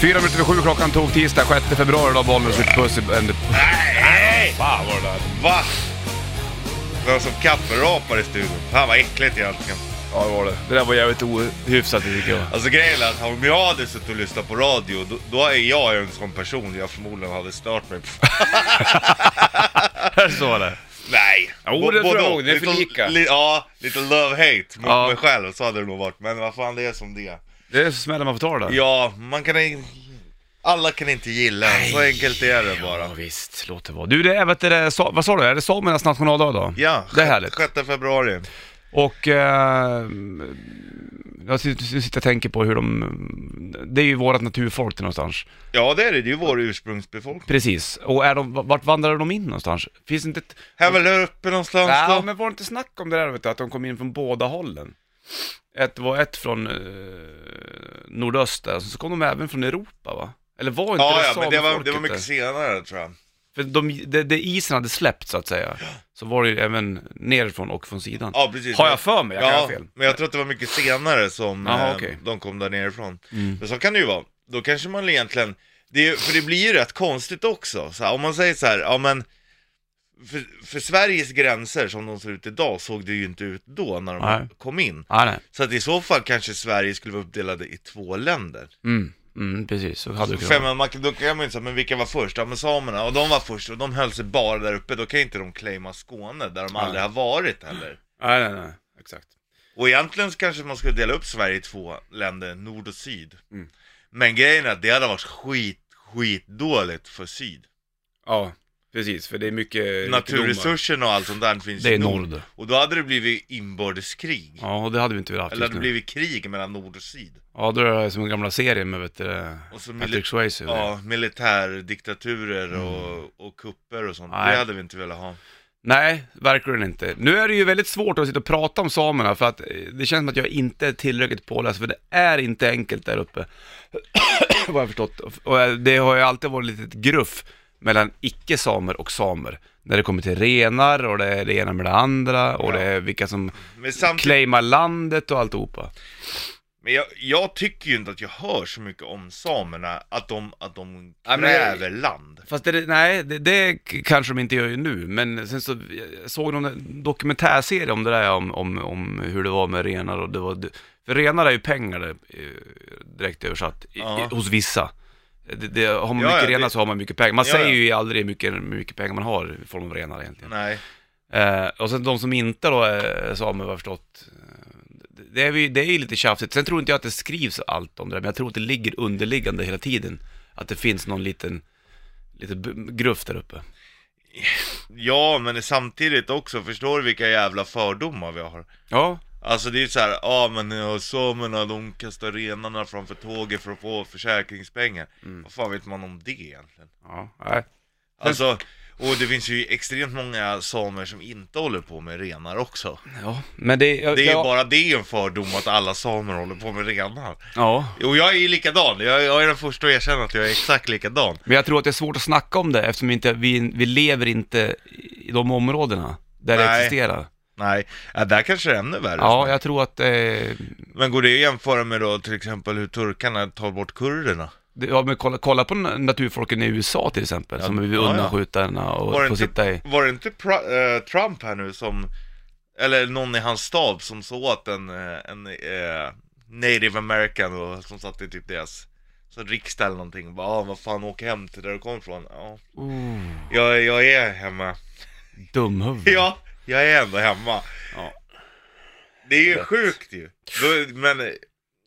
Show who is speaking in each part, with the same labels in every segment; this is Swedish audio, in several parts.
Speaker 1: Fyra minuter över sju klockan tog tisdag 6 februari då Bollnäs fick puss i... en-
Speaker 2: Nej!
Speaker 1: Fan var det där?
Speaker 2: Va? Det var som kafferapar i studion. Fan vad äckligt egentligen.
Speaker 1: Ja det var det. Det där var jävligt ohyfsat tycker jag.
Speaker 2: Alltså grejen är att om jag hade suttit och lyssnat på radio, då, då är jag en sån person jag förmodligen hade stört mig på.
Speaker 1: Är det så eller?
Speaker 2: Nej!
Speaker 3: Jo,
Speaker 2: Bo-
Speaker 3: det tror
Speaker 2: både
Speaker 3: jag
Speaker 2: och.
Speaker 3: nog. Det är för
Speaker 2: Lite-
Speaker 3: lika.
Speaker 2: Li, ja, lite love-hate mot
Speaker 1: Ja.
Speaker 2: mig själv, så hade det nog varit. Men vad fan, det är som det är.
Speaker 1: Det är smällen man får ta det där.
Speaker 2: Ja, man kan... in- Alla kan inte gilla en, så enkelt är det
Speaker 1: Ja,
Speaker 2: bara.
Speaker 1: visst, låt det vara. Du, det är, vet du, det är, sa- vad sa du? Är det samernas nationaldag idag?
Speaker 2: Ja,
Speaker 1: Det är härligt.
Speaker 2: 6 februari.
Speaker 1: Och eh, jag sitter, sitter och tänker på hur de, det är ju vårat naturfolk till någonstans.
Speaker 2: Ja, det är det. Det är ju vår ursprungsbefolkning.
Speaker 1: Precis, och är de, vart vandrar de in någonstans? Finns det inte ett...
Speaker 2: Här väl uppe någonstans
Speaker 1: Ja,
Speaker 2: då?
Speaker 1: men var det inte snack om det där vet du, att de kom in från båda hållen? Ett var ett från eh, nordöst där, så kom de även från Europa va? Eller var inte
Speaker 2: Ja,
Speaker 1: det
Speaker 2: ja, men det var,
Speaker 1: samefolket
Speaker 2: det var mycket
Speaker 1: där?
Speaker 2: senare tror jag.
Speaker 1: För de, det, det isen hade släppt så att säga, så var det ju även nerifrån och från sidan.
Speaker 2: Ja, precis.
Speaker 1: Har jag för mig? Jag kan
Speaker 2: ja,
Speaker 1: ha fel.
Speaker 2: men jag tror att det var mycket senare som
Speaker 1: Jaha,
Speaker 2: eh,
Speaker 1: okej.
Speaker 2: de kom där nerifrån.
Speaker 1: Mm.
Speaker 2: Men så kan det ju vara. Då kanske man egentligen, det är, för det blir ju rätt konstigt också. Så här, om man säger så här, ja men, för, för Sveriges gränser som de ser ut idag såg det ju inte ut då när de
Speaker 1: Nej.
Speaker 2: kom in.
Speaker 1: Ah, nej.
Speaker 2: Så att i så fall kanske Sverige skulle vara uppdelade i två länder.
Speaker 1: Mm, mm precis. Så hade du kunnat.
Speaker 2: Fem, men man, kan- då kan man ju inte säga, men vilka var först? Ja men samerna, och de var först och de höll sig bara där uppe, då kan ju inte de claima Skåne där de aldrig har varit heller.
Speaker 1: Nej, nej, nej. Exakt.
Speaker 2: Och egentligen så kanske man skulle dela upp Sverige i två länder, nord och syd.
Speaker 1: Mm.
Speaker 2: Men grejen är att det hade varit skit, skit dåligt för syd.
Speaker 1: Ja, precis. För det är mycket...
Speaker 2: Naturresurserna och allt sånt där finns
Speaker 1: Det är
Speaker 2: i
Speaker 1: nord.
Speaker 2: Och då hade det blivit inbördeskrig.
Speaker 1: Ja, och det hade vi inte velat haft
Speaker 2: Eller
Speaker 1: just
Speaker 2: hade det
Speaker 1: nu.
Speaker 2: blivit krig mellan nord och syd.
Speaker 1: Ja, då är det som den gamla serien med vet du, det,
Speaker 2: Och så mili-
Speaker 1: Patrick Swayze. Ja.
Speaker 2: Ja, militärdiktaturer och, och kupper och sånt.
Speaker 1: Mm. Nej.
Speaker 2: Det hade vi inte velat ha.
Speaker 1: Nej, verkligen inte. Nu är det ju väldigt svårt att sitta och prata om samerna för att eh, det känns som att jag inte är tillräckligt påläst för det är inte enkelt där uppe. Vad jag har förstått. Och eh, det har ju alltid varit lite gruff mellan icke-samer och samer. När det kommer till renar och det är det ena med det andra och
Speaker 2: Ja.
Speaker 1: det är vilka som
Speaker 2: Men samtidigt,
Speaker 1: claimar landet och alltihopa.
Speaker 2: men jag, jag tycker ju inte att jag hör så mycket om samerna, att de, att de
Speaker 1: Ja, men jag-
Speaker 2: kräver land.
Speaker 1: Fast det, nej, det, det k- kanske de inte gör ju nu, men sen så jag såg någon dokumentärserie om det där, om, om, om hur det var med renar och det var, för renar är ju pengar där, eh, direkt översatt, i,
Speaker 2: Ja.
Speaker 1: i, hos vissa. Det, det, har man
Speaker 2: Ja,
Speaker 1: mycket
Speaker 2: ja,
Speaker 1: renar
Speaker 2: det-
Speaker 1: så har man mycket pengar. Man
Speaker 2: Ja,
Speaker 1: säger
Speaker 2: ja.
Speaker 1: ju aldrig hur mycket, hur mycket pengar man har i form av renar egentligen.
Speaker 2: Nej.
Speaker 1: Eh, och sen de som inte då är samer, vad jag förstått, eh, det- det är, ju, det är ju lite tjafsigt. Sen tror inte jag att det skrivs allt om det där, men jag tror att det ligger underliggande hela tiden. Att det finns någon liten, liten b- gruff där uppe.
Speaker 2: Ja, men samtidigt också, förstår du vilka jävla fördomar vi har?
Speaker 1: Ja,
Speaker 2: Alltså det är ju såhär, ja men ja, samerna de kastar renarna framför tåget för att få försäkringspengar.
Speaker 1: Mm.
Speaker 2: Vad fan vet man om det egentligen?
Speaker 1: ja, nej.
Speaker 2: Alltså, och det finns ju extremt många samer som inte håller på med renar också.
Speaker 1: ja. Men det, jag,
Speaker 2: Det är ju
Speaker 1: jag,
Speaker 2: bara det är ju en fördom att alla samer håller på med renar.
Speaker 1: Ja,
Speaker 2: Och jag är ju likadan, jag, jag är den första att erkänna att jag är exakt likadan.
Speaker 1: men jag tror att det är svårt att snacka om det eftersom inte, vi, vi lever inte i de områdena där det
Speaker 2: Nej.
Speaker 1: existerar.
Speaker 2: Nej, ja, där kanske det är ännu värre.
Speaker 1: Ja, jag tror att, eh,
Speaker 2: Men går det att jämföra med då till exempel hur turkarna tar bort kurderna?
Speaker 1: det- ja, men kolla, kolla på na- naturfolken i USA till exempel,
Speaker 2: Ja,
Speaker 1: som vill
Speaker 2: ja, ja.
Speaker 1: undanskjutna och
Speaker 2: Var det
Speaker 1: får
Speaker 2: inte-
Speaker 1: sitta i...
Speaker 2: Var det inte Pr- eh, Trump här nu som, eller någon i hans stab som såg åt en, eh, en eh, native american och, som satt i typ deras så riksdag eller någonting och bara ah, vad fan åk hem till där du kom ifrån. Ja,
Speaker 1: Oh.
Speaker 2: jag, jag är hemma.
Speaker 1: Dumhuvud.
Speaker 2: Ja, jag är ändå hemma.
Speaker 1: Ja.
Speaker 2: Det är ju
Speaker 1: Rätt.
Speaker 2: sjukt ju. Då, men eh,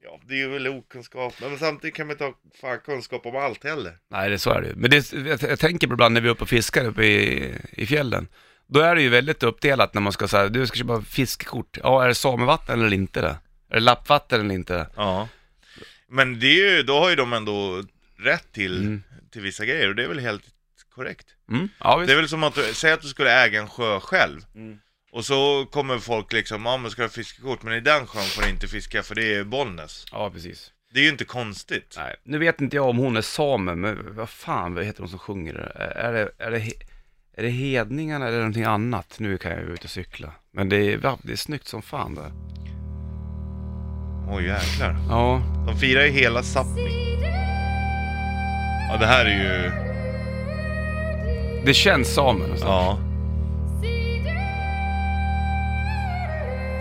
Speaker 2: ja, det är ju väl okunskap. Men samtidigt kan man inte ha fan kunskap om allt heller.
Speaker 1: Nej, det, så är det ju. Men det, jag, jag tänker på ibland när vi är uppe och fiskar uppe i, i fjällen. Då är det ju väldigt uppdelat när man ska säga, du ska köpa fiskekort. Ja, är det samevatten eller inte det? Är det lappvatten eller inte det?
Speaker 2: Ja. Men det är ju, då har ju de ändå rätt till,
Speaker 1: Mm.
Speaker 2: till vissa grejer och det är väl helt korrekt.
Speaker 1: Mm. Ja,
Speaker 2: Det
Speaker 1: visst.
Speaker 2: är väl som att du, säg att du skulle äga en sjö själv.
Speaker 1: Mm.
Speaker 2: Och så kommer folk liksom, ja men ska du ha fiskekort? Men i den sjön får du inte fiska för det är Bollnäs.
Speaker 1: Ja, precis.
Speaker 2: Det är ju inte konstigt.
Speaker 1: Nej. Nu vet inte jag om hon är same, men vad fan vad heter hon som sjunger det? Är det, är det, he- är det hedningarna eller någonting annat? Nu kan jag ju ut och cykla. Men det är, va, det är snyggt som fan där.
Speaker 2: Oj jäklar.
Speaker 1: Ja,
Speaker 2: De firar ju hela Sápmi. Ja, det här är ju...
Speaker 1: Det känns samer alltså.
Speaker 2: Ja.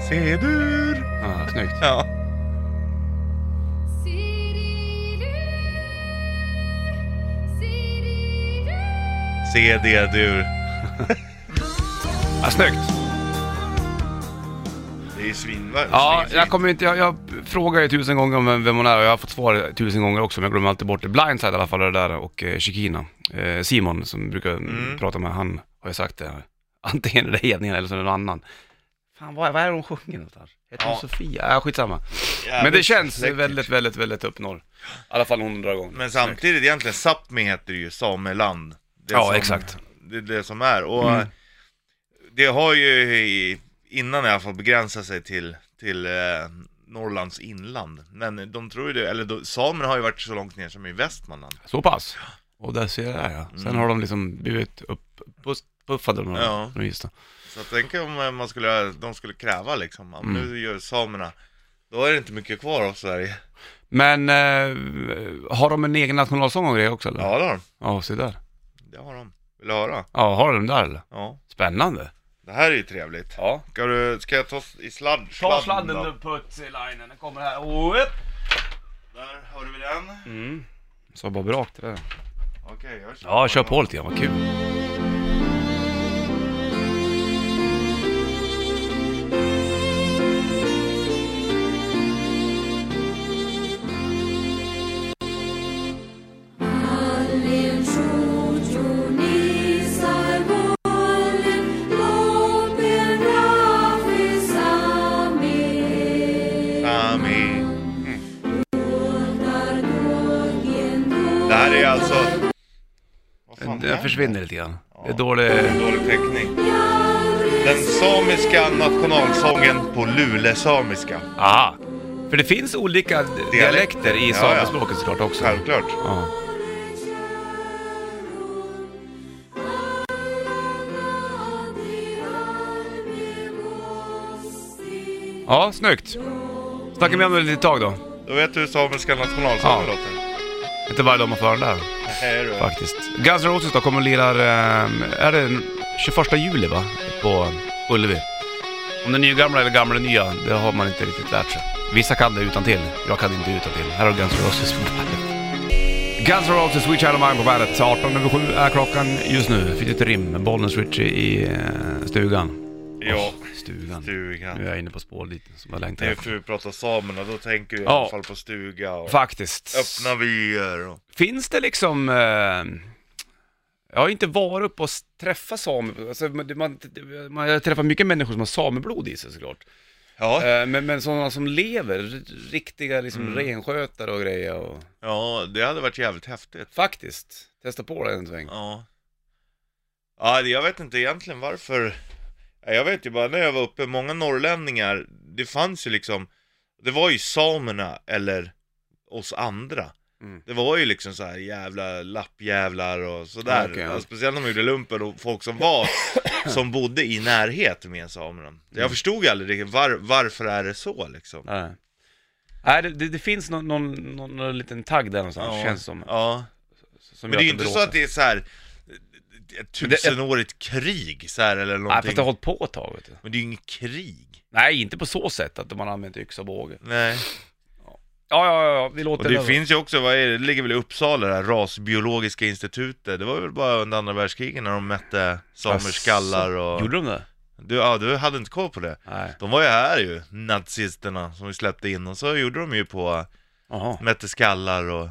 Speaker 2: Sedur!
Speaker 1: Ja, snyggt.
Speaker 2: Ja. CD-dur.
Speaker 1: Ja, snyggt.
Speaker 2: Det är ju svinvar.
Speaker 1: Ja,
Speaker 2: svinfint.
Speaker 1: jag kommer inte, jag, jag frågar ju tusen gånger om vem- vem hon är och jag har fått svar tusen gånger också men jag glömmer alltid bort det. Blindside i alla fall är det där och eh, Shikina. Eh, Simon som brukar mm. prata med, han har ju sagt det. här. Antingen är det hedningen eller så är det någon annan. Fan vad, vad är det hon sjunger någonstans? Heter hon
Speaker 2: Ja.
Speaker 1: Sofia? Ja, skitsamma.
Speaker 2: Jävligt
Speaker 1: men det känns
Speaker 2: släktigt.
Speaker 1: väldigt, väldigt, väldigt upp norr. I alla fall hundra gånger.
Speaker 2: Men samtidigt egentligen, Sápmi heter ju sameland. Det
Speaker 1: Ja, exakt.
Speaker 2: Det är det som är. Och
Speaker 1: Mm.
Speaker 2: eh, det har ju i- innan i alla fall begränsat sig till, till eh, Norrlands inland. Men de tror ju det, eller de, samerna har ju varit så långt ner som i Västmanland.
Speaker 1: Så pass. Och där ser jag det, ja. Sen
Speaker 2: Mm.
Speaker 1: har de liksom blivit upppuffade.
Speaker 2: Ja.
Speaker 1: Ja. Just det.
Speaker 2: Så att tänk om eh, man skulle, de skulle kräva liksom, ja, men
Speaker 1: Mm.
Speaker 2: nu gör samerna, då är det inte mycket kvar av Sverige.
Speaker 1: Men eh, har de en egen nationalsång och grejer också eller?
Speaker 2: Ja, det har de.
Speaker 1: Ja, se där.
Speaker 2: Det har de. Vill du höra?
Speaker 1: Ja, har du den där eller?
Speaker 2: Ja.
Speaker 1: Spännande.
Speaker 2: Det här är ju trevligt.
Speaker 1: Ja.
Speaker 2: Ska, du, ska jag ta s- i sladd?
Speaker 1: Ta
Speaker 2: sladden
Speaker 1: sladden
Speaker 2: då?
Speaker 1: nu puts i linen, den kommer här. Oh, upp.
Speaker 2: Där har du den.
Speaker 1: mm. Så bara brak det där.
Speaker 2: Okej, jag kör.
Speaker 1: Ja, kör på lite grann, vad kul.
Speaker 3: Allin suutun isai vuolen, lopien raafi saamien.
Speaker 2: Sami.
Speaker 3: Tuoltar tuokien
Speaker 2: Det här är alltså... Vad fan är det?
Speaker 1: Den försvinner lite grann. Det är
Speaker 2: Ja.
Speaker 1: dålig...
Speaker 2: Dålig täckning.
Speaker 3: tuokien
Speaker 2: Den samiska nationalsången på lulesamiska.
Speaker 1: Aha. För det finns olika dialekter i
Speaker 2: Ja,
Speaker 1: samespråket såklart också.
Speaker 2: Självklart.
Speaker 1: Ja. ja, snyggt. Snacka med om det ett litet tag då.
Speaker 2: Då vet du hur samiska nationalsången
Speaker 1: Ja.
Speaker 2: låter.
Speaker 1: Inte varje dag man får höra den där
Speaker 2: Nej, du.
Speaker 1: faktiskt. Guns N' Roses då kommer och lirar, ehm, är det 21 juli va? På Ullevi. Om det är nygamla eller gamla nya, det har man inte riktigt lärt sig. Vissa kan det utan till. jag kan inte utan till. Här har du Guns N' Roses på bandet. Guns N' Roses, Sweet Child of Mine på bandet. 18 över 7 är klockan just nu. Fick ett rim, Bollnäs Richie i eh, stugan.
Speaker 2: Ja,
Speaker 1: Stugan. Nu
Speaker 2: stugan.
Speaker 1: är jag inne på spår lite som jag längtar
Speaker 2: Nu
Speaker 1: efter.
Speaker 2: får vi prata samerna, då tänker du i
Speaker 1: Ja.
Speaker 2: alla fall på stuga och
Speaker 1: Faktiskt.
Speaker 2: öppna vyer och...
Speaker 1: Finns det liksom... Eh, jag har inte varit uppe och s- träffat samer... Alltså, man, man, man, jag träffar mycket människor som har sameblod i sig såklart.
Speaker 2: Ja,
Speaker 1: Eh, men, men sådana som lever, r- riktiga liksom
Speaker 2: Mm.
Speaker 1: renskötare och grejer. Och,
Speaker 2: ja, det hade varit jävligt häftigt.
Speaker 1: faktiskt, testa på det en sväng.
Speaker 2: Ja. Ja, det- jag vet inte egentligen varför. Ja, Jag vet ju bara när jag var uppe, många norrlänningar, det fanns ju liksom, det var ju samerna eller oss andra.
Speaker 1: Mm.
Speaker 2: Det var ju liksom så här jävla lappjävlar och sådär.
Speaker 1: Okej, ja.
Speaker 2: Ja, Speciellt när man gjorde lumpen och folk som var, som bodde i närhet med samerna. Jag
Speaker 1: Mm.
Speaker 2: förstod ju aldrig riktigt var, varför är det så liksom.
Speaker 1: Nej. Nej, det, det, det finns någon, någon, någon, någon liten tagg där någonstans, känns som.
Speaker 2: Ja.
Speaker 1: som
Speaker 2: Men
Speaker 1: gör
Speaker 2: det är ju
Speaker 1: det
Speaker 2: inte så
Speaker 1: blåser.
Speaker 2: att det är så här ett
Speaker 1: Men det-
Speaker 2: tusenårigt krig så här eller någonting.
Speaker 1: Nej, fast det har hållit på ett tag vet du.
Speaker 2: Men det är ju inget krig.
Speaker 1: Nej, inte på så sätt att man har använt yxa och båge.
Speaker 2: Nej.
Speaker 1: Ja, ja, ja, ja, vi låter
Speaker 2: Och det
Speaker 1: den-
Speaker 2: finns ju också, vad är det, det ligger väl i Uppsala det här rasbiologiska institutet. Det var väl bara under andra världskriget när de mätte samers skallar och...
Speaker 1: Gjorde de det?
Speaker 2: Du, ja, du hade inte koll på det.
Speaker 1: Nej.
Speaker 2: De var ju här ju, nazisterna som vi släppte in och så gjorde de ju på,
Speaker 1: Jaha.
Speaker 2: mätte skallar och,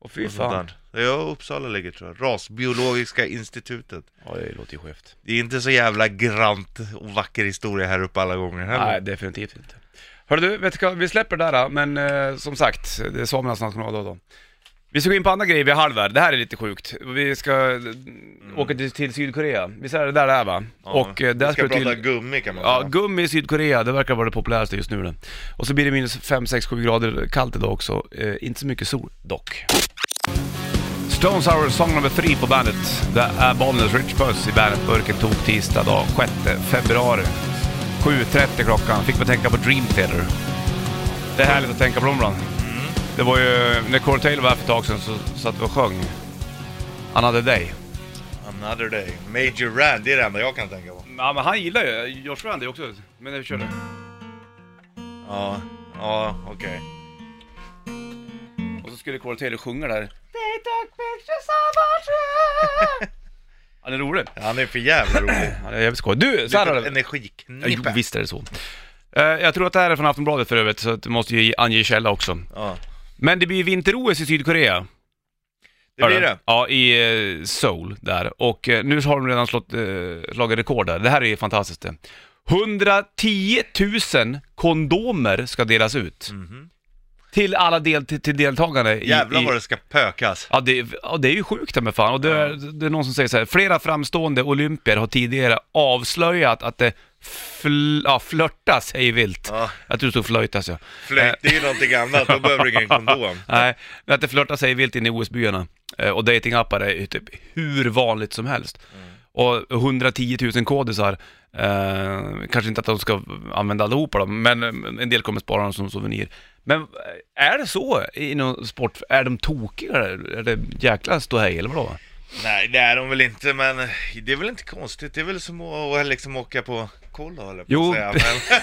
Speaker 1: Och fy
Speaker 2: och sånt
Speaker 1: fan.
Speaker 2: där. Det är Uppsala ligger tror jag, rasbiologiska institutet.
Speaker 1: Ja, det låter ju skevt.
Speaker 2: Det är inte så jävla grant och vacker historia här uppe alla gånger heller.
Speaker 1: Nej, definitivt inte. Hör du, vet du, vad, vi släpper det där då, men eh, som sagt, det är samernas nationaldag då. Vi ska gå in på andra grejer vid halv här. Det här är lite sjukt. Vi ska eh, åka till, till Sydkorea. Visst är det där det är va?
Speaker 2: Ja.
Speaker 1: Och eh, där
Speaker 2: vi ska
Speaker 1: ska,
Speaker 2: prata
Speaker 1: till...
Speaker 2: gummi kan man säga.
Speaker 1: Ja, gummi i Sydkorea, det verkar vara det populäraste just nu det. Och så blir det minus 5, 6, 7 grader kallt idag också. Eh, inte så mycket sol dock. Stones Sour Song nummer 3 på bandet. Det är Bollnäs Rich Puss i bandetburken tog tisdag dag 6 februari. Mm. 7.30 klockan. Fick man tänka på Dream Theater. Det är härligt att tänka på dem ibland. Det var ju, när Corey Taylor var här för ett tag sedan så satt vi och sjöng. Han hade dig.
Speaker 2: Another day. Major Rand, det är det enda jag kan tänka på.
Speaker 1: Ja men han gillar ju Josh Randy också. Men jag körde.
Speaker 2: Ja, ja okej.
Speaker 1: Och så skulle Corey Taylor sjunga där. They took pictures of our tree. Ja det är roligt.
Speaker 2: Han är för jävla rolig.
Speaker 1: Ja, det är jävligt skoj. Du, så här har
Speaker 2: Litet
Speaker 1: det. Ja, jo,
Speaker 2: energiknippe.
Speaker 1: visst är det så. Eh, Jag tror att det här är från Aftonbladet för övrigt, så att du måste ju ange källa också.
Speaker 2: Ja,
Speaker 1: Men det blir vinter-OS i Sydkorea.
Speaker 2: det blir det.
Speaker 1: Ja, i eh, Seoul där. Och eh, nu har de redan slått, eh, slagit rekord där. Det här är fantastiskt det. 110 000 kondomer ska delas ut. Till alla del, till, till deltagarna. i-
Speaker 2: Jävlar
Speaker 1: i,
Speaker 2: vad det ska pökas.
Speaker 1: Ja det, ja, det är ju sjukt det med fan. Och det, är, det är någon som säger så här, flera framstående olympier har tidigare avslöjat att det fl- ja, flörtas hej vilt.
Speaker 2: Ja.
Speaker 1: Jag tror det stod flöjtas ja.
Speaker 2: Flöjt, det är ju någonting annat, då behöver du ingen kondom.
Speaker 1: Nej, men att det flörtas hej vilt inne i OS-byarna. Eh, Och datingappar är ju typ hur vanligt som helst. Och 110 000 kodisar, eh, kanske inte att de ska använda allihopa då, men eh, en del kommer spara dem som souvenir. Men eh, är det så inom sport? Är de tokiga? Är det jäkla ståhej eller vadå?
Speaker 2: Nej, det är de väl inte, men det är väl inte konstigt. Det är väl som att liksom åka på kollo eller
Speaker 1: Jo.
Speaker 2: på att säga. Men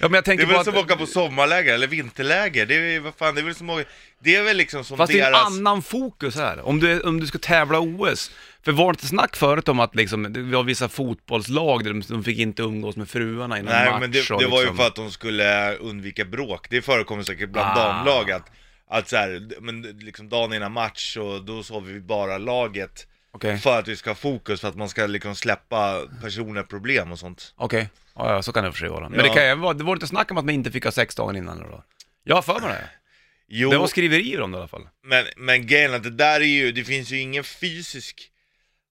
Speaker 1: Ja, men jag
Speaker 2: det
Speaker 1: tänker
Speaker 2: är väl
Speaker 1: på
Speaker 2: som att åka på sommarläger eller vinterläger. Det är, ju- vad fan, det är väl som att... Det är väl liksom som
Speaker 1: Fast det är en
Speaker 2: deras...
Speaker 1: annan fokus här. Om du, om du ska tävla OS. För var det inte snack förut om att liksom, det var vissa fotbollslag där de, de fick inte umgås med fruarna innan match
Speaker 2: Nej, men det,
Speaker 1: och
Speaker 2: det var ju
Speaker 1: liksom-
Speaker 2: för att de skulle undvika bråk. Det förekommer säkert bland
Speaker 1: Ah.
Speaker 2: damlag att, att så här, men liksom dagen innan match och då sover vi bara laget.
Speaker 1: Okej,
Speaker 2: För att vi ska ha fokus, för att man ska liksom släppa personliga problem och sånt.
Speaker 1: okej. Ja, ja, så kan det i och för sig vara. Men
Speaker 2: Ja.
Speaker 1: det kan ju vara, det var inte snack om att man inte fick ha sex dagen innan eller då? Jag har för mig det.
Speaker 2: Jo,
Speaker 1: Det var skriverier om det i alla fall.
Speaker 2: men, men grejen är att det där är ju, det finns ju ingen fysisk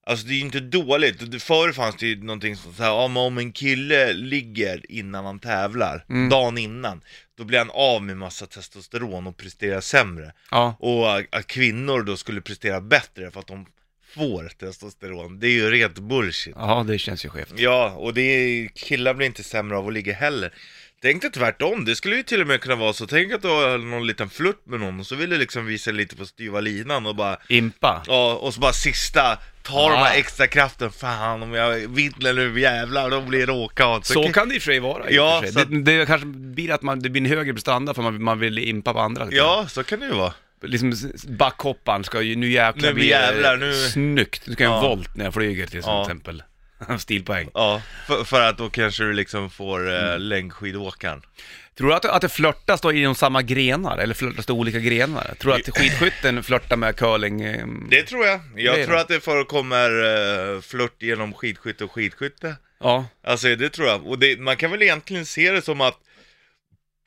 Speaker 2: Alltså det är ju inte dåligt, Det- förr fanns det ju någonting som såhär, ja, men om en kille ligger innan han tävlar,
Speaker 1: Mm.
Speaker 2: dagen innan, då blir han av med massa testosteron och presterar sämre.
Speaker 1: Ja.
Speaker 2: och att- att kvinnor då skulle prestera bättre för att de får testosteron, det är ju rent bullshit.
Speaker 1: Ja, det känns ju skevt.
Speaker 2: Ja, och det är, killar blir inte sämre av att ligga heller. Tänk dig tvärtom, det skulle ju till och med kunna vara så. Tänk att du har någon liten flört med någon och så vill du liksom visa lite på styva linan och bara
Speaker 1: Impa.
Speaker 2: Ja, och så bara sista, ta de
Speaker 1: Ah.
Speaker 2: här extra kraften, fan om jag vinner nu jävlar, då blir det åka åt.
Speaker 1: Så kan det i och för sig vara. i
Speaker 2: Ja,
Speaker 1: och för
Speaker 2: så
Speaker 1: sig.
Speaker 2: att-
Speaker 1: Det, det kanske blir att man, det blir en högre prestanda för man, man vill impa på andra. lite.
Speaker 2: Ja, så kan det ju vara.
Speaker 1: liksom s- backhopparen ska ju, nu jäklar
Speaker 2: Nu
Speaker 1: blir det
Speaker 2: jävlar, nu-
Speaker 1: snyggt. Nu ska jag göra en
Speaker 2: Ja.
Speaker 1: volt när jag flyger till
Speaker 2: Ja.
Speaker 1: exempel. Stilpoäng.
Speaker 2: Ja, för, för att då kanske du liksom får
Speaker 1: Mm.
Speaker 2: eh, längdskidåkaren.
Speaker 1: Tror du att, att det flörtas då inom samma grenar, eller flörtas det olika grenar? Tror du att skidskytten flörtar med curling? eh,
Speaker 2: Det tror jag. Jag
Speaker 1: Det är
Speaker 2: tror
Speaker 1: det.
Speaker 2: att det förekommer uh, flört genom skidskytte och skidskytte.
Speaker 1: Ja.
Speaker 2: Alltså det tror jag. Och det, man kan väl egentligen se det som att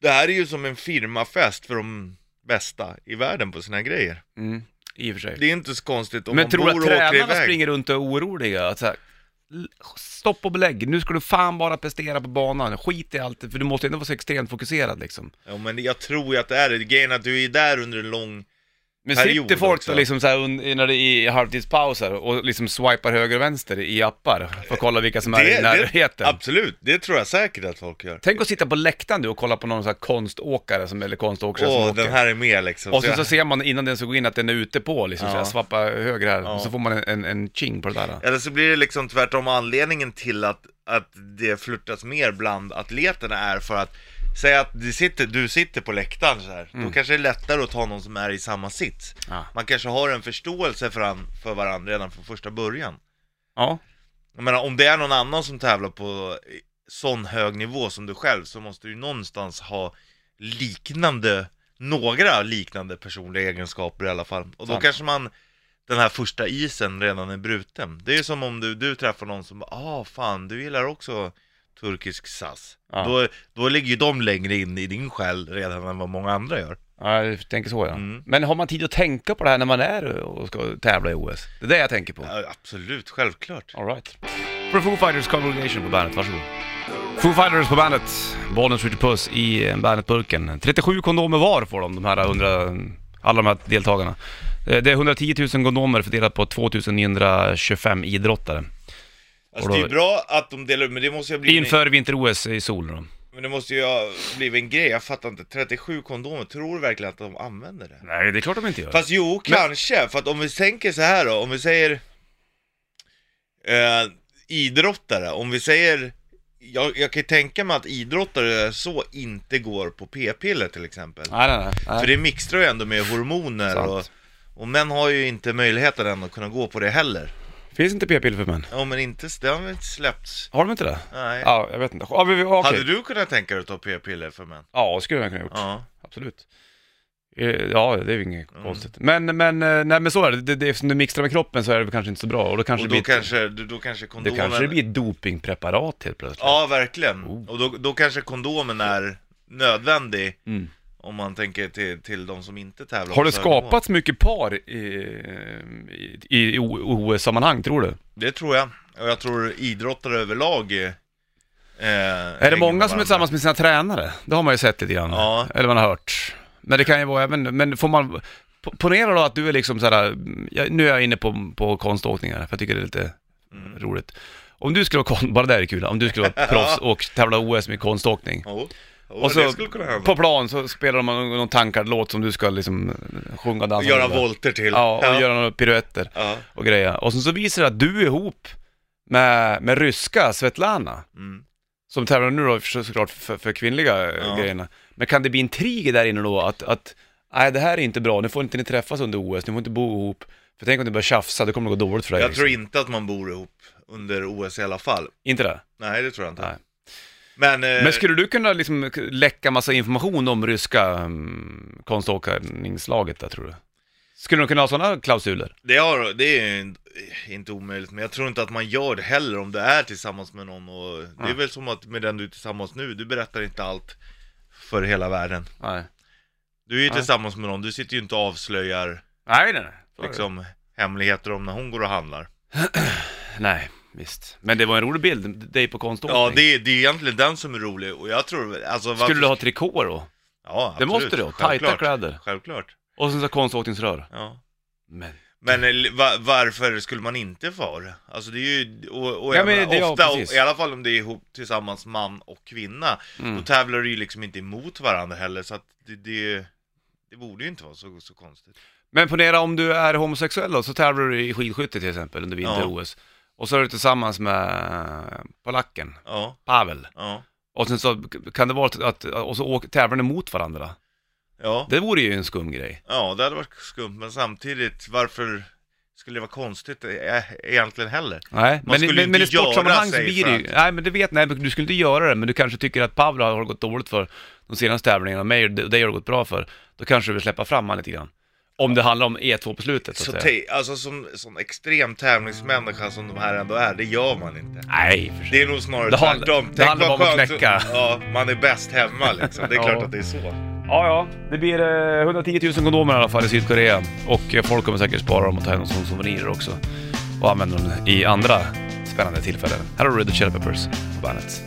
Speaker 2: det här är ju som en firmafest för de bästa i världen på sina grejer.
Speaker 1: Mm. I och för sig.
Speaker 2: Det är inte så konstigt om
Speaker 1: Men
Speaker 2: man
Speaker 1: tror
Speaker 2: bor
Speaker 1: du
Speaker 2: och
Speaker 1: att
Speaker 2: åker
Speaker 1: tränarna
Speaker 2: iväg.
Speaker 1: springer runt och är oroliga? Att så här, l- stopp och belägg, nu ska du fan bara prestera på banan. Skit i allt, för du måste ändå vara så extremt fokuserad liksom.
Speaker 2: Ja, men jag tror ju att det är det. Grejen är att du är där under en lång...
Speaker 1: Men
Speaker 2: period
Speaker 1: sitter folk
Speaker 2: också.
Speaker 1: då liksom så här un- när det är i halvtidspauser och liksom swipar höger och vänster i appar för att kolla vilka som är i närheten?
Speaker 2: absolut, det tror jag säkert att folk gör.
Speaker 1: Tänk att sitta på läktaren du och kolla på någon så här konståkare som, eller konståkare
Speaker 2: Åh,
Speaker 1: som åker.
Speaker 2: den här är med liksom.
Speaker 1: Och sen
Speaker 2: jag-
Speaker 1: så ser man innan den ska gå in att den är ute på, liksom
Speaker 2: Ja.
Speaker 1: så här, svappa höger här,
Speaker 2: Ja.
Speaker 1: och så får man en, en, en ching på det där.
Speaker 2: Eller så blir det liksom tvärtom anledningen till att, att det flörtas mer bland atleterna är för att Säg att du sitter, du sitter på läktaren så här. då kanske det är lättare att ta någon som är i samma sits.
Speaker 1: Ja.
Speaker 2: Man kanske har en förståelse för, an, för varandra redan från första början.
Speaker 1: Ja,
Speaker 2: Jag menar, om det är någon annan som tävlar på eh, sån hög nivå som du själv så måste du ju någonstans ha liknande, några liknande personliga egenskaper i alla fall. Och då
Speaker 1: Sant.
Speaker 2: kanske man, den här första isen redan är bruten. Det är ju som om du, du träffar någon som bara, ah fan, du gillar också turkisk SAS.
Speaker 1: Ja.
Speaker 2: Då, då ligger ju de längre in i din själ redan än vad många andra gör.
Speaker 1: ja jag tänker så ja.
Speaker 2: Mm.
Speaker 1: Men har man tid att tänka på det här när man är och ska tävla i OS? Det är det jag tänker på.
Speaker 2: Ja, absolut, självklart.
Speaker 1: Alright. För Foo Fighters Congregation på bandet, varsågod. Foo Fighters på bandet, Bollnäs skjuter puss i eh, bandetburken. 37 kondomer var får de, de här 100, alla de här deltagarna. Eh, Det är 110 000 kondomer fördelat på 2925 idrottare.
Speaker 2: Alltså
Speaker 1: Och
Speaker 2: det
Speaker 1: då-
Speaker 2: är ju bra att de delar upp, men det måste ju bli...
Speaker 1: Inför vinter-OS i solen då.
Speaker 2: Men det måste ju ha blivit en grej, jag fattar inte. 37 kondomer, tror du verkligen att de använder det?
Speaker 1: Nej, det är klart de inte gör.
Speaker 2: Fast jo, kanske. För att om vi tänker så här då, om vi säger eh, idrottare, om vi säger jag, jag kan ju tänka mig att idrottare så inte går på p-piller till exempel.
Speaker 1: Nej, nej, nej. nej.
Speaker 2: För det mixtrar ju ändå med hormoner och,
Speaker 1: Sant.
Speaker 2: och män har ju inte möjligheten än att kunna gå på det heller.
Speaker 1: Finns inte p-piller för män?
Speaker 2: Ja men inte, det har väl inte släppts.
Speaker 1: Har de inte det?
Speaker 2: Nej.
Speaker 1: Ja, jag vet inte. Ja, men, vi- okej.
Speaker 2: Hade du kunnat tänka dig att ta p-piller för män?
Speaker 1: ja skulle jag kunna gjort.
Speaker 2: Ja.
Speaker 1: Absolut. Eh, Ja, det är ju inget
Speaker 2: Mm.
Speaker 1: konstigt. Men, men, eh, nej, men så är det. det, det eftersom du mixtrar med kroppen så är det väl kanske inte så bra. Och då kanske
Speaker 2: Och
Speaker 1: det
Speaker 2: då
Speaker 1: blir, ett-
Speaker 2: kanske, då kanske
Speaker 1: det
Speaker 2: kondomen...
Speaker 1: kanske det blir ett dopingpreparat helt plötsligt.
Speaker 2: Ja, verkligen.
Speaker 1: Oh.
Speaker 2: Och då, då kanske kondomen är nödvändig
Speaker 1: Mm.
Speaker 2: om man tänker till, till de som inte tävlar.
Speaker 1: Har det
Speaker 2: på servernivå.
Speaker 1: skapats mycket par i, i, i O- OS-sammanhang, tror du?
Speaker 2: Det tror jag. Och jag tror idrottare överlag... Eh,
Speaker 1: Är det många som är tillsammans med sina tränare? Det har man ju sett lite grann.
Speaker 2: Ja.
Speaker 1: Eller man har hört. Men det kan ju vara även, men får man, po- ponera då att du är liksom såhär, jag, nu är jag inne på, på konståkning här, för jag tycker det är lite
Speaker 2: Mm.
Speaker 1: roligt. Om du skulle vara, kon- bara det här är kul, om du skulle vara proffs och tävla OS med konståkning.
Speaker 2: Jo, Jo,
Speaker 1: Och så
Speaker 2: det skulle kunna hända.
Speaker 1: på plan så spelar de någon, någon tankad låt som du ska liksom sjunga, dansa
Speaker 2: Göra
Speaker 1: med.
Speaker 2: volter till.
Speaker 1: Ja, och göra några piruetter
Speaker 2: ja.
Speaker 1: och grejer. Och sen så visar det att du är ihop med, med ryska Svetlana
Speaker 2: Mm.
Speaker 1: som tävlar nu då för- såklart för, för kvinnliga eh,
Speaker 2: Ja.
Speaker 1: grejerna. Men kan det bli intriger där inne då att, att nej det här är inte bra, nu får inte ni träffas under OS, ni får inte bo ihop. För tänk om ni börjar tjafsa, då kommer det gå dåligt för dig.
Speaker 2: Jag
Speaker 1: liksom.
Speaker 2: tror inte att man bor ihop under OS i alla fall.
Speaker 1: Inte det?
Speaker 2: Nej, det tror jag inte.
Speaker 1: Nej.
Speaker 2: Men, eh,
Speaker 1: Men skulle du kunna liksom läcka massa information om ryska um, konståkningslaget där tror du? Skulle de kunna ha sådana klausuler?
Speaker 2: Det, har, det är ju in- inte omöjligt, men jag tror inte att man gör det heller om det är tillsammans med någon och Det är
Speaker 1: Nej.
Speaker 2: väl som att med den du är tillsammans nu, du berättar inte allt för hela världen
Speaker 1: Nej.
Speaker 2: Du är ju
Speaker 1: Nej.
Speaker 2: tillsammans med någon, du sitter ju inte och avslöjar
Speaker 1: Nej, nej, nej. Så är det.
Speaker 2: liksom hemligheter om när hon går och handlar
Speaker 1: Nej, visst. Men det var en rolig bild, dig på konståkning.
Speaker 2: Ja, det är, det är egentligen den som är rolig och jag tror, alltså varför...
Speaker 1: Skulle du ha trikåer då?
Speaker 2: Ja,
Speaker 1: Det
Speaker 2: absolut.
Speaker 1: måste du ha, tajta
Speaker 2: Självklart.
Speaker 1: kläder.
Speaker 2: Självklart,
Speaker 1: Och sen så konståkningsrör.
Speaker 2: ja
Speaker 1: Men
Speaker 2: Men eh, va- varför skulle man inte få ha det? Alltså det är ju, och, och
Speaker 1: Ja,
Speaker 2: jag
Speaker 1: men
Speaker 2: menar,
Speaker 1: det- ja,
Speaker 2: ofta,
Speaker 1: precis. Mm.
Speaker 2: i alla fall om det är ihop tillsammans man och kvinna, då tävlar du ju liksom inte emot varandra heller så att det, det, det borde ju inte vara så, så konstigt.
Speaker 1: Men ponera om du är homosexuell då, så tävlar du i skidskytte till exempel under vinter-OS. Och så är du tillsammans med eh, polacken,
Speaker 2: Ja,
Speaker 1: Pavel.
Speaker 2: ja,
Speaker 1: Och sen så kan det vara att, att och så åker, tävlar ni mot varandra.
Speaker 2: ja,
Speaker 1: Det vore ju en skum grej.
Speaker 2: ja, det hade varit skumt men samtidigt varför skulle det vara konstigt eh, egentligen heller?
Speaker 1: Nej,
Speaker 2: Man
Speaker 1: men,
Speaker 2: skulle
Speaker 1: men,
Speaker 2: inte
Speaker 1: men i
Speaker 2: göra
Speaker 1: sportsammanhang så
Speaker 2: sig
Speaker 1: blir det ju,
Speaker 2: för
Speaker 1: nej men det vet, nej men du skulle inte göra det, men du kanske tycker att Pavel har gått dåligt för de senaste tävlingarna, och mig och dig har det gått bra för. Då kanske du vill släppa fram han lite grann. Om det handlar om E E2-beslutet så
Speaker 2: Så
Speaker 1: att säga.
Speaker 2: te- alltså som, som extrem tävlingsmänniska som de här ändå är, det gör man inte.
Speaker 1: Nej, för sig.
Speaker 2: Det är nog snarare
Speaker 1: Det handlar-
Speaker 2: tvärtom.
Speaker 1: det
Speaker 2: Tänk
Speaker 1: handlar
Speaker 2: vad
Speaker 1: bara om att
Speaker 2: skönt-
Speaker 1: knäcka.
Speaker 2: Ja, man är bäst hemma liksom. Det är
Speaker 1: Ja.
Speaker 2: klart att det är så.
Speaker 1: Ja, ja. Det blir eh, 110 000 kondomer i alla fall i Sydkorea. Och eh, folk kommer säkert spara dem och ta hem dem som souvenirer också. Och använda dem i andra spännande tillfällen. Här har du Red Hot Chili Peppers på bandet.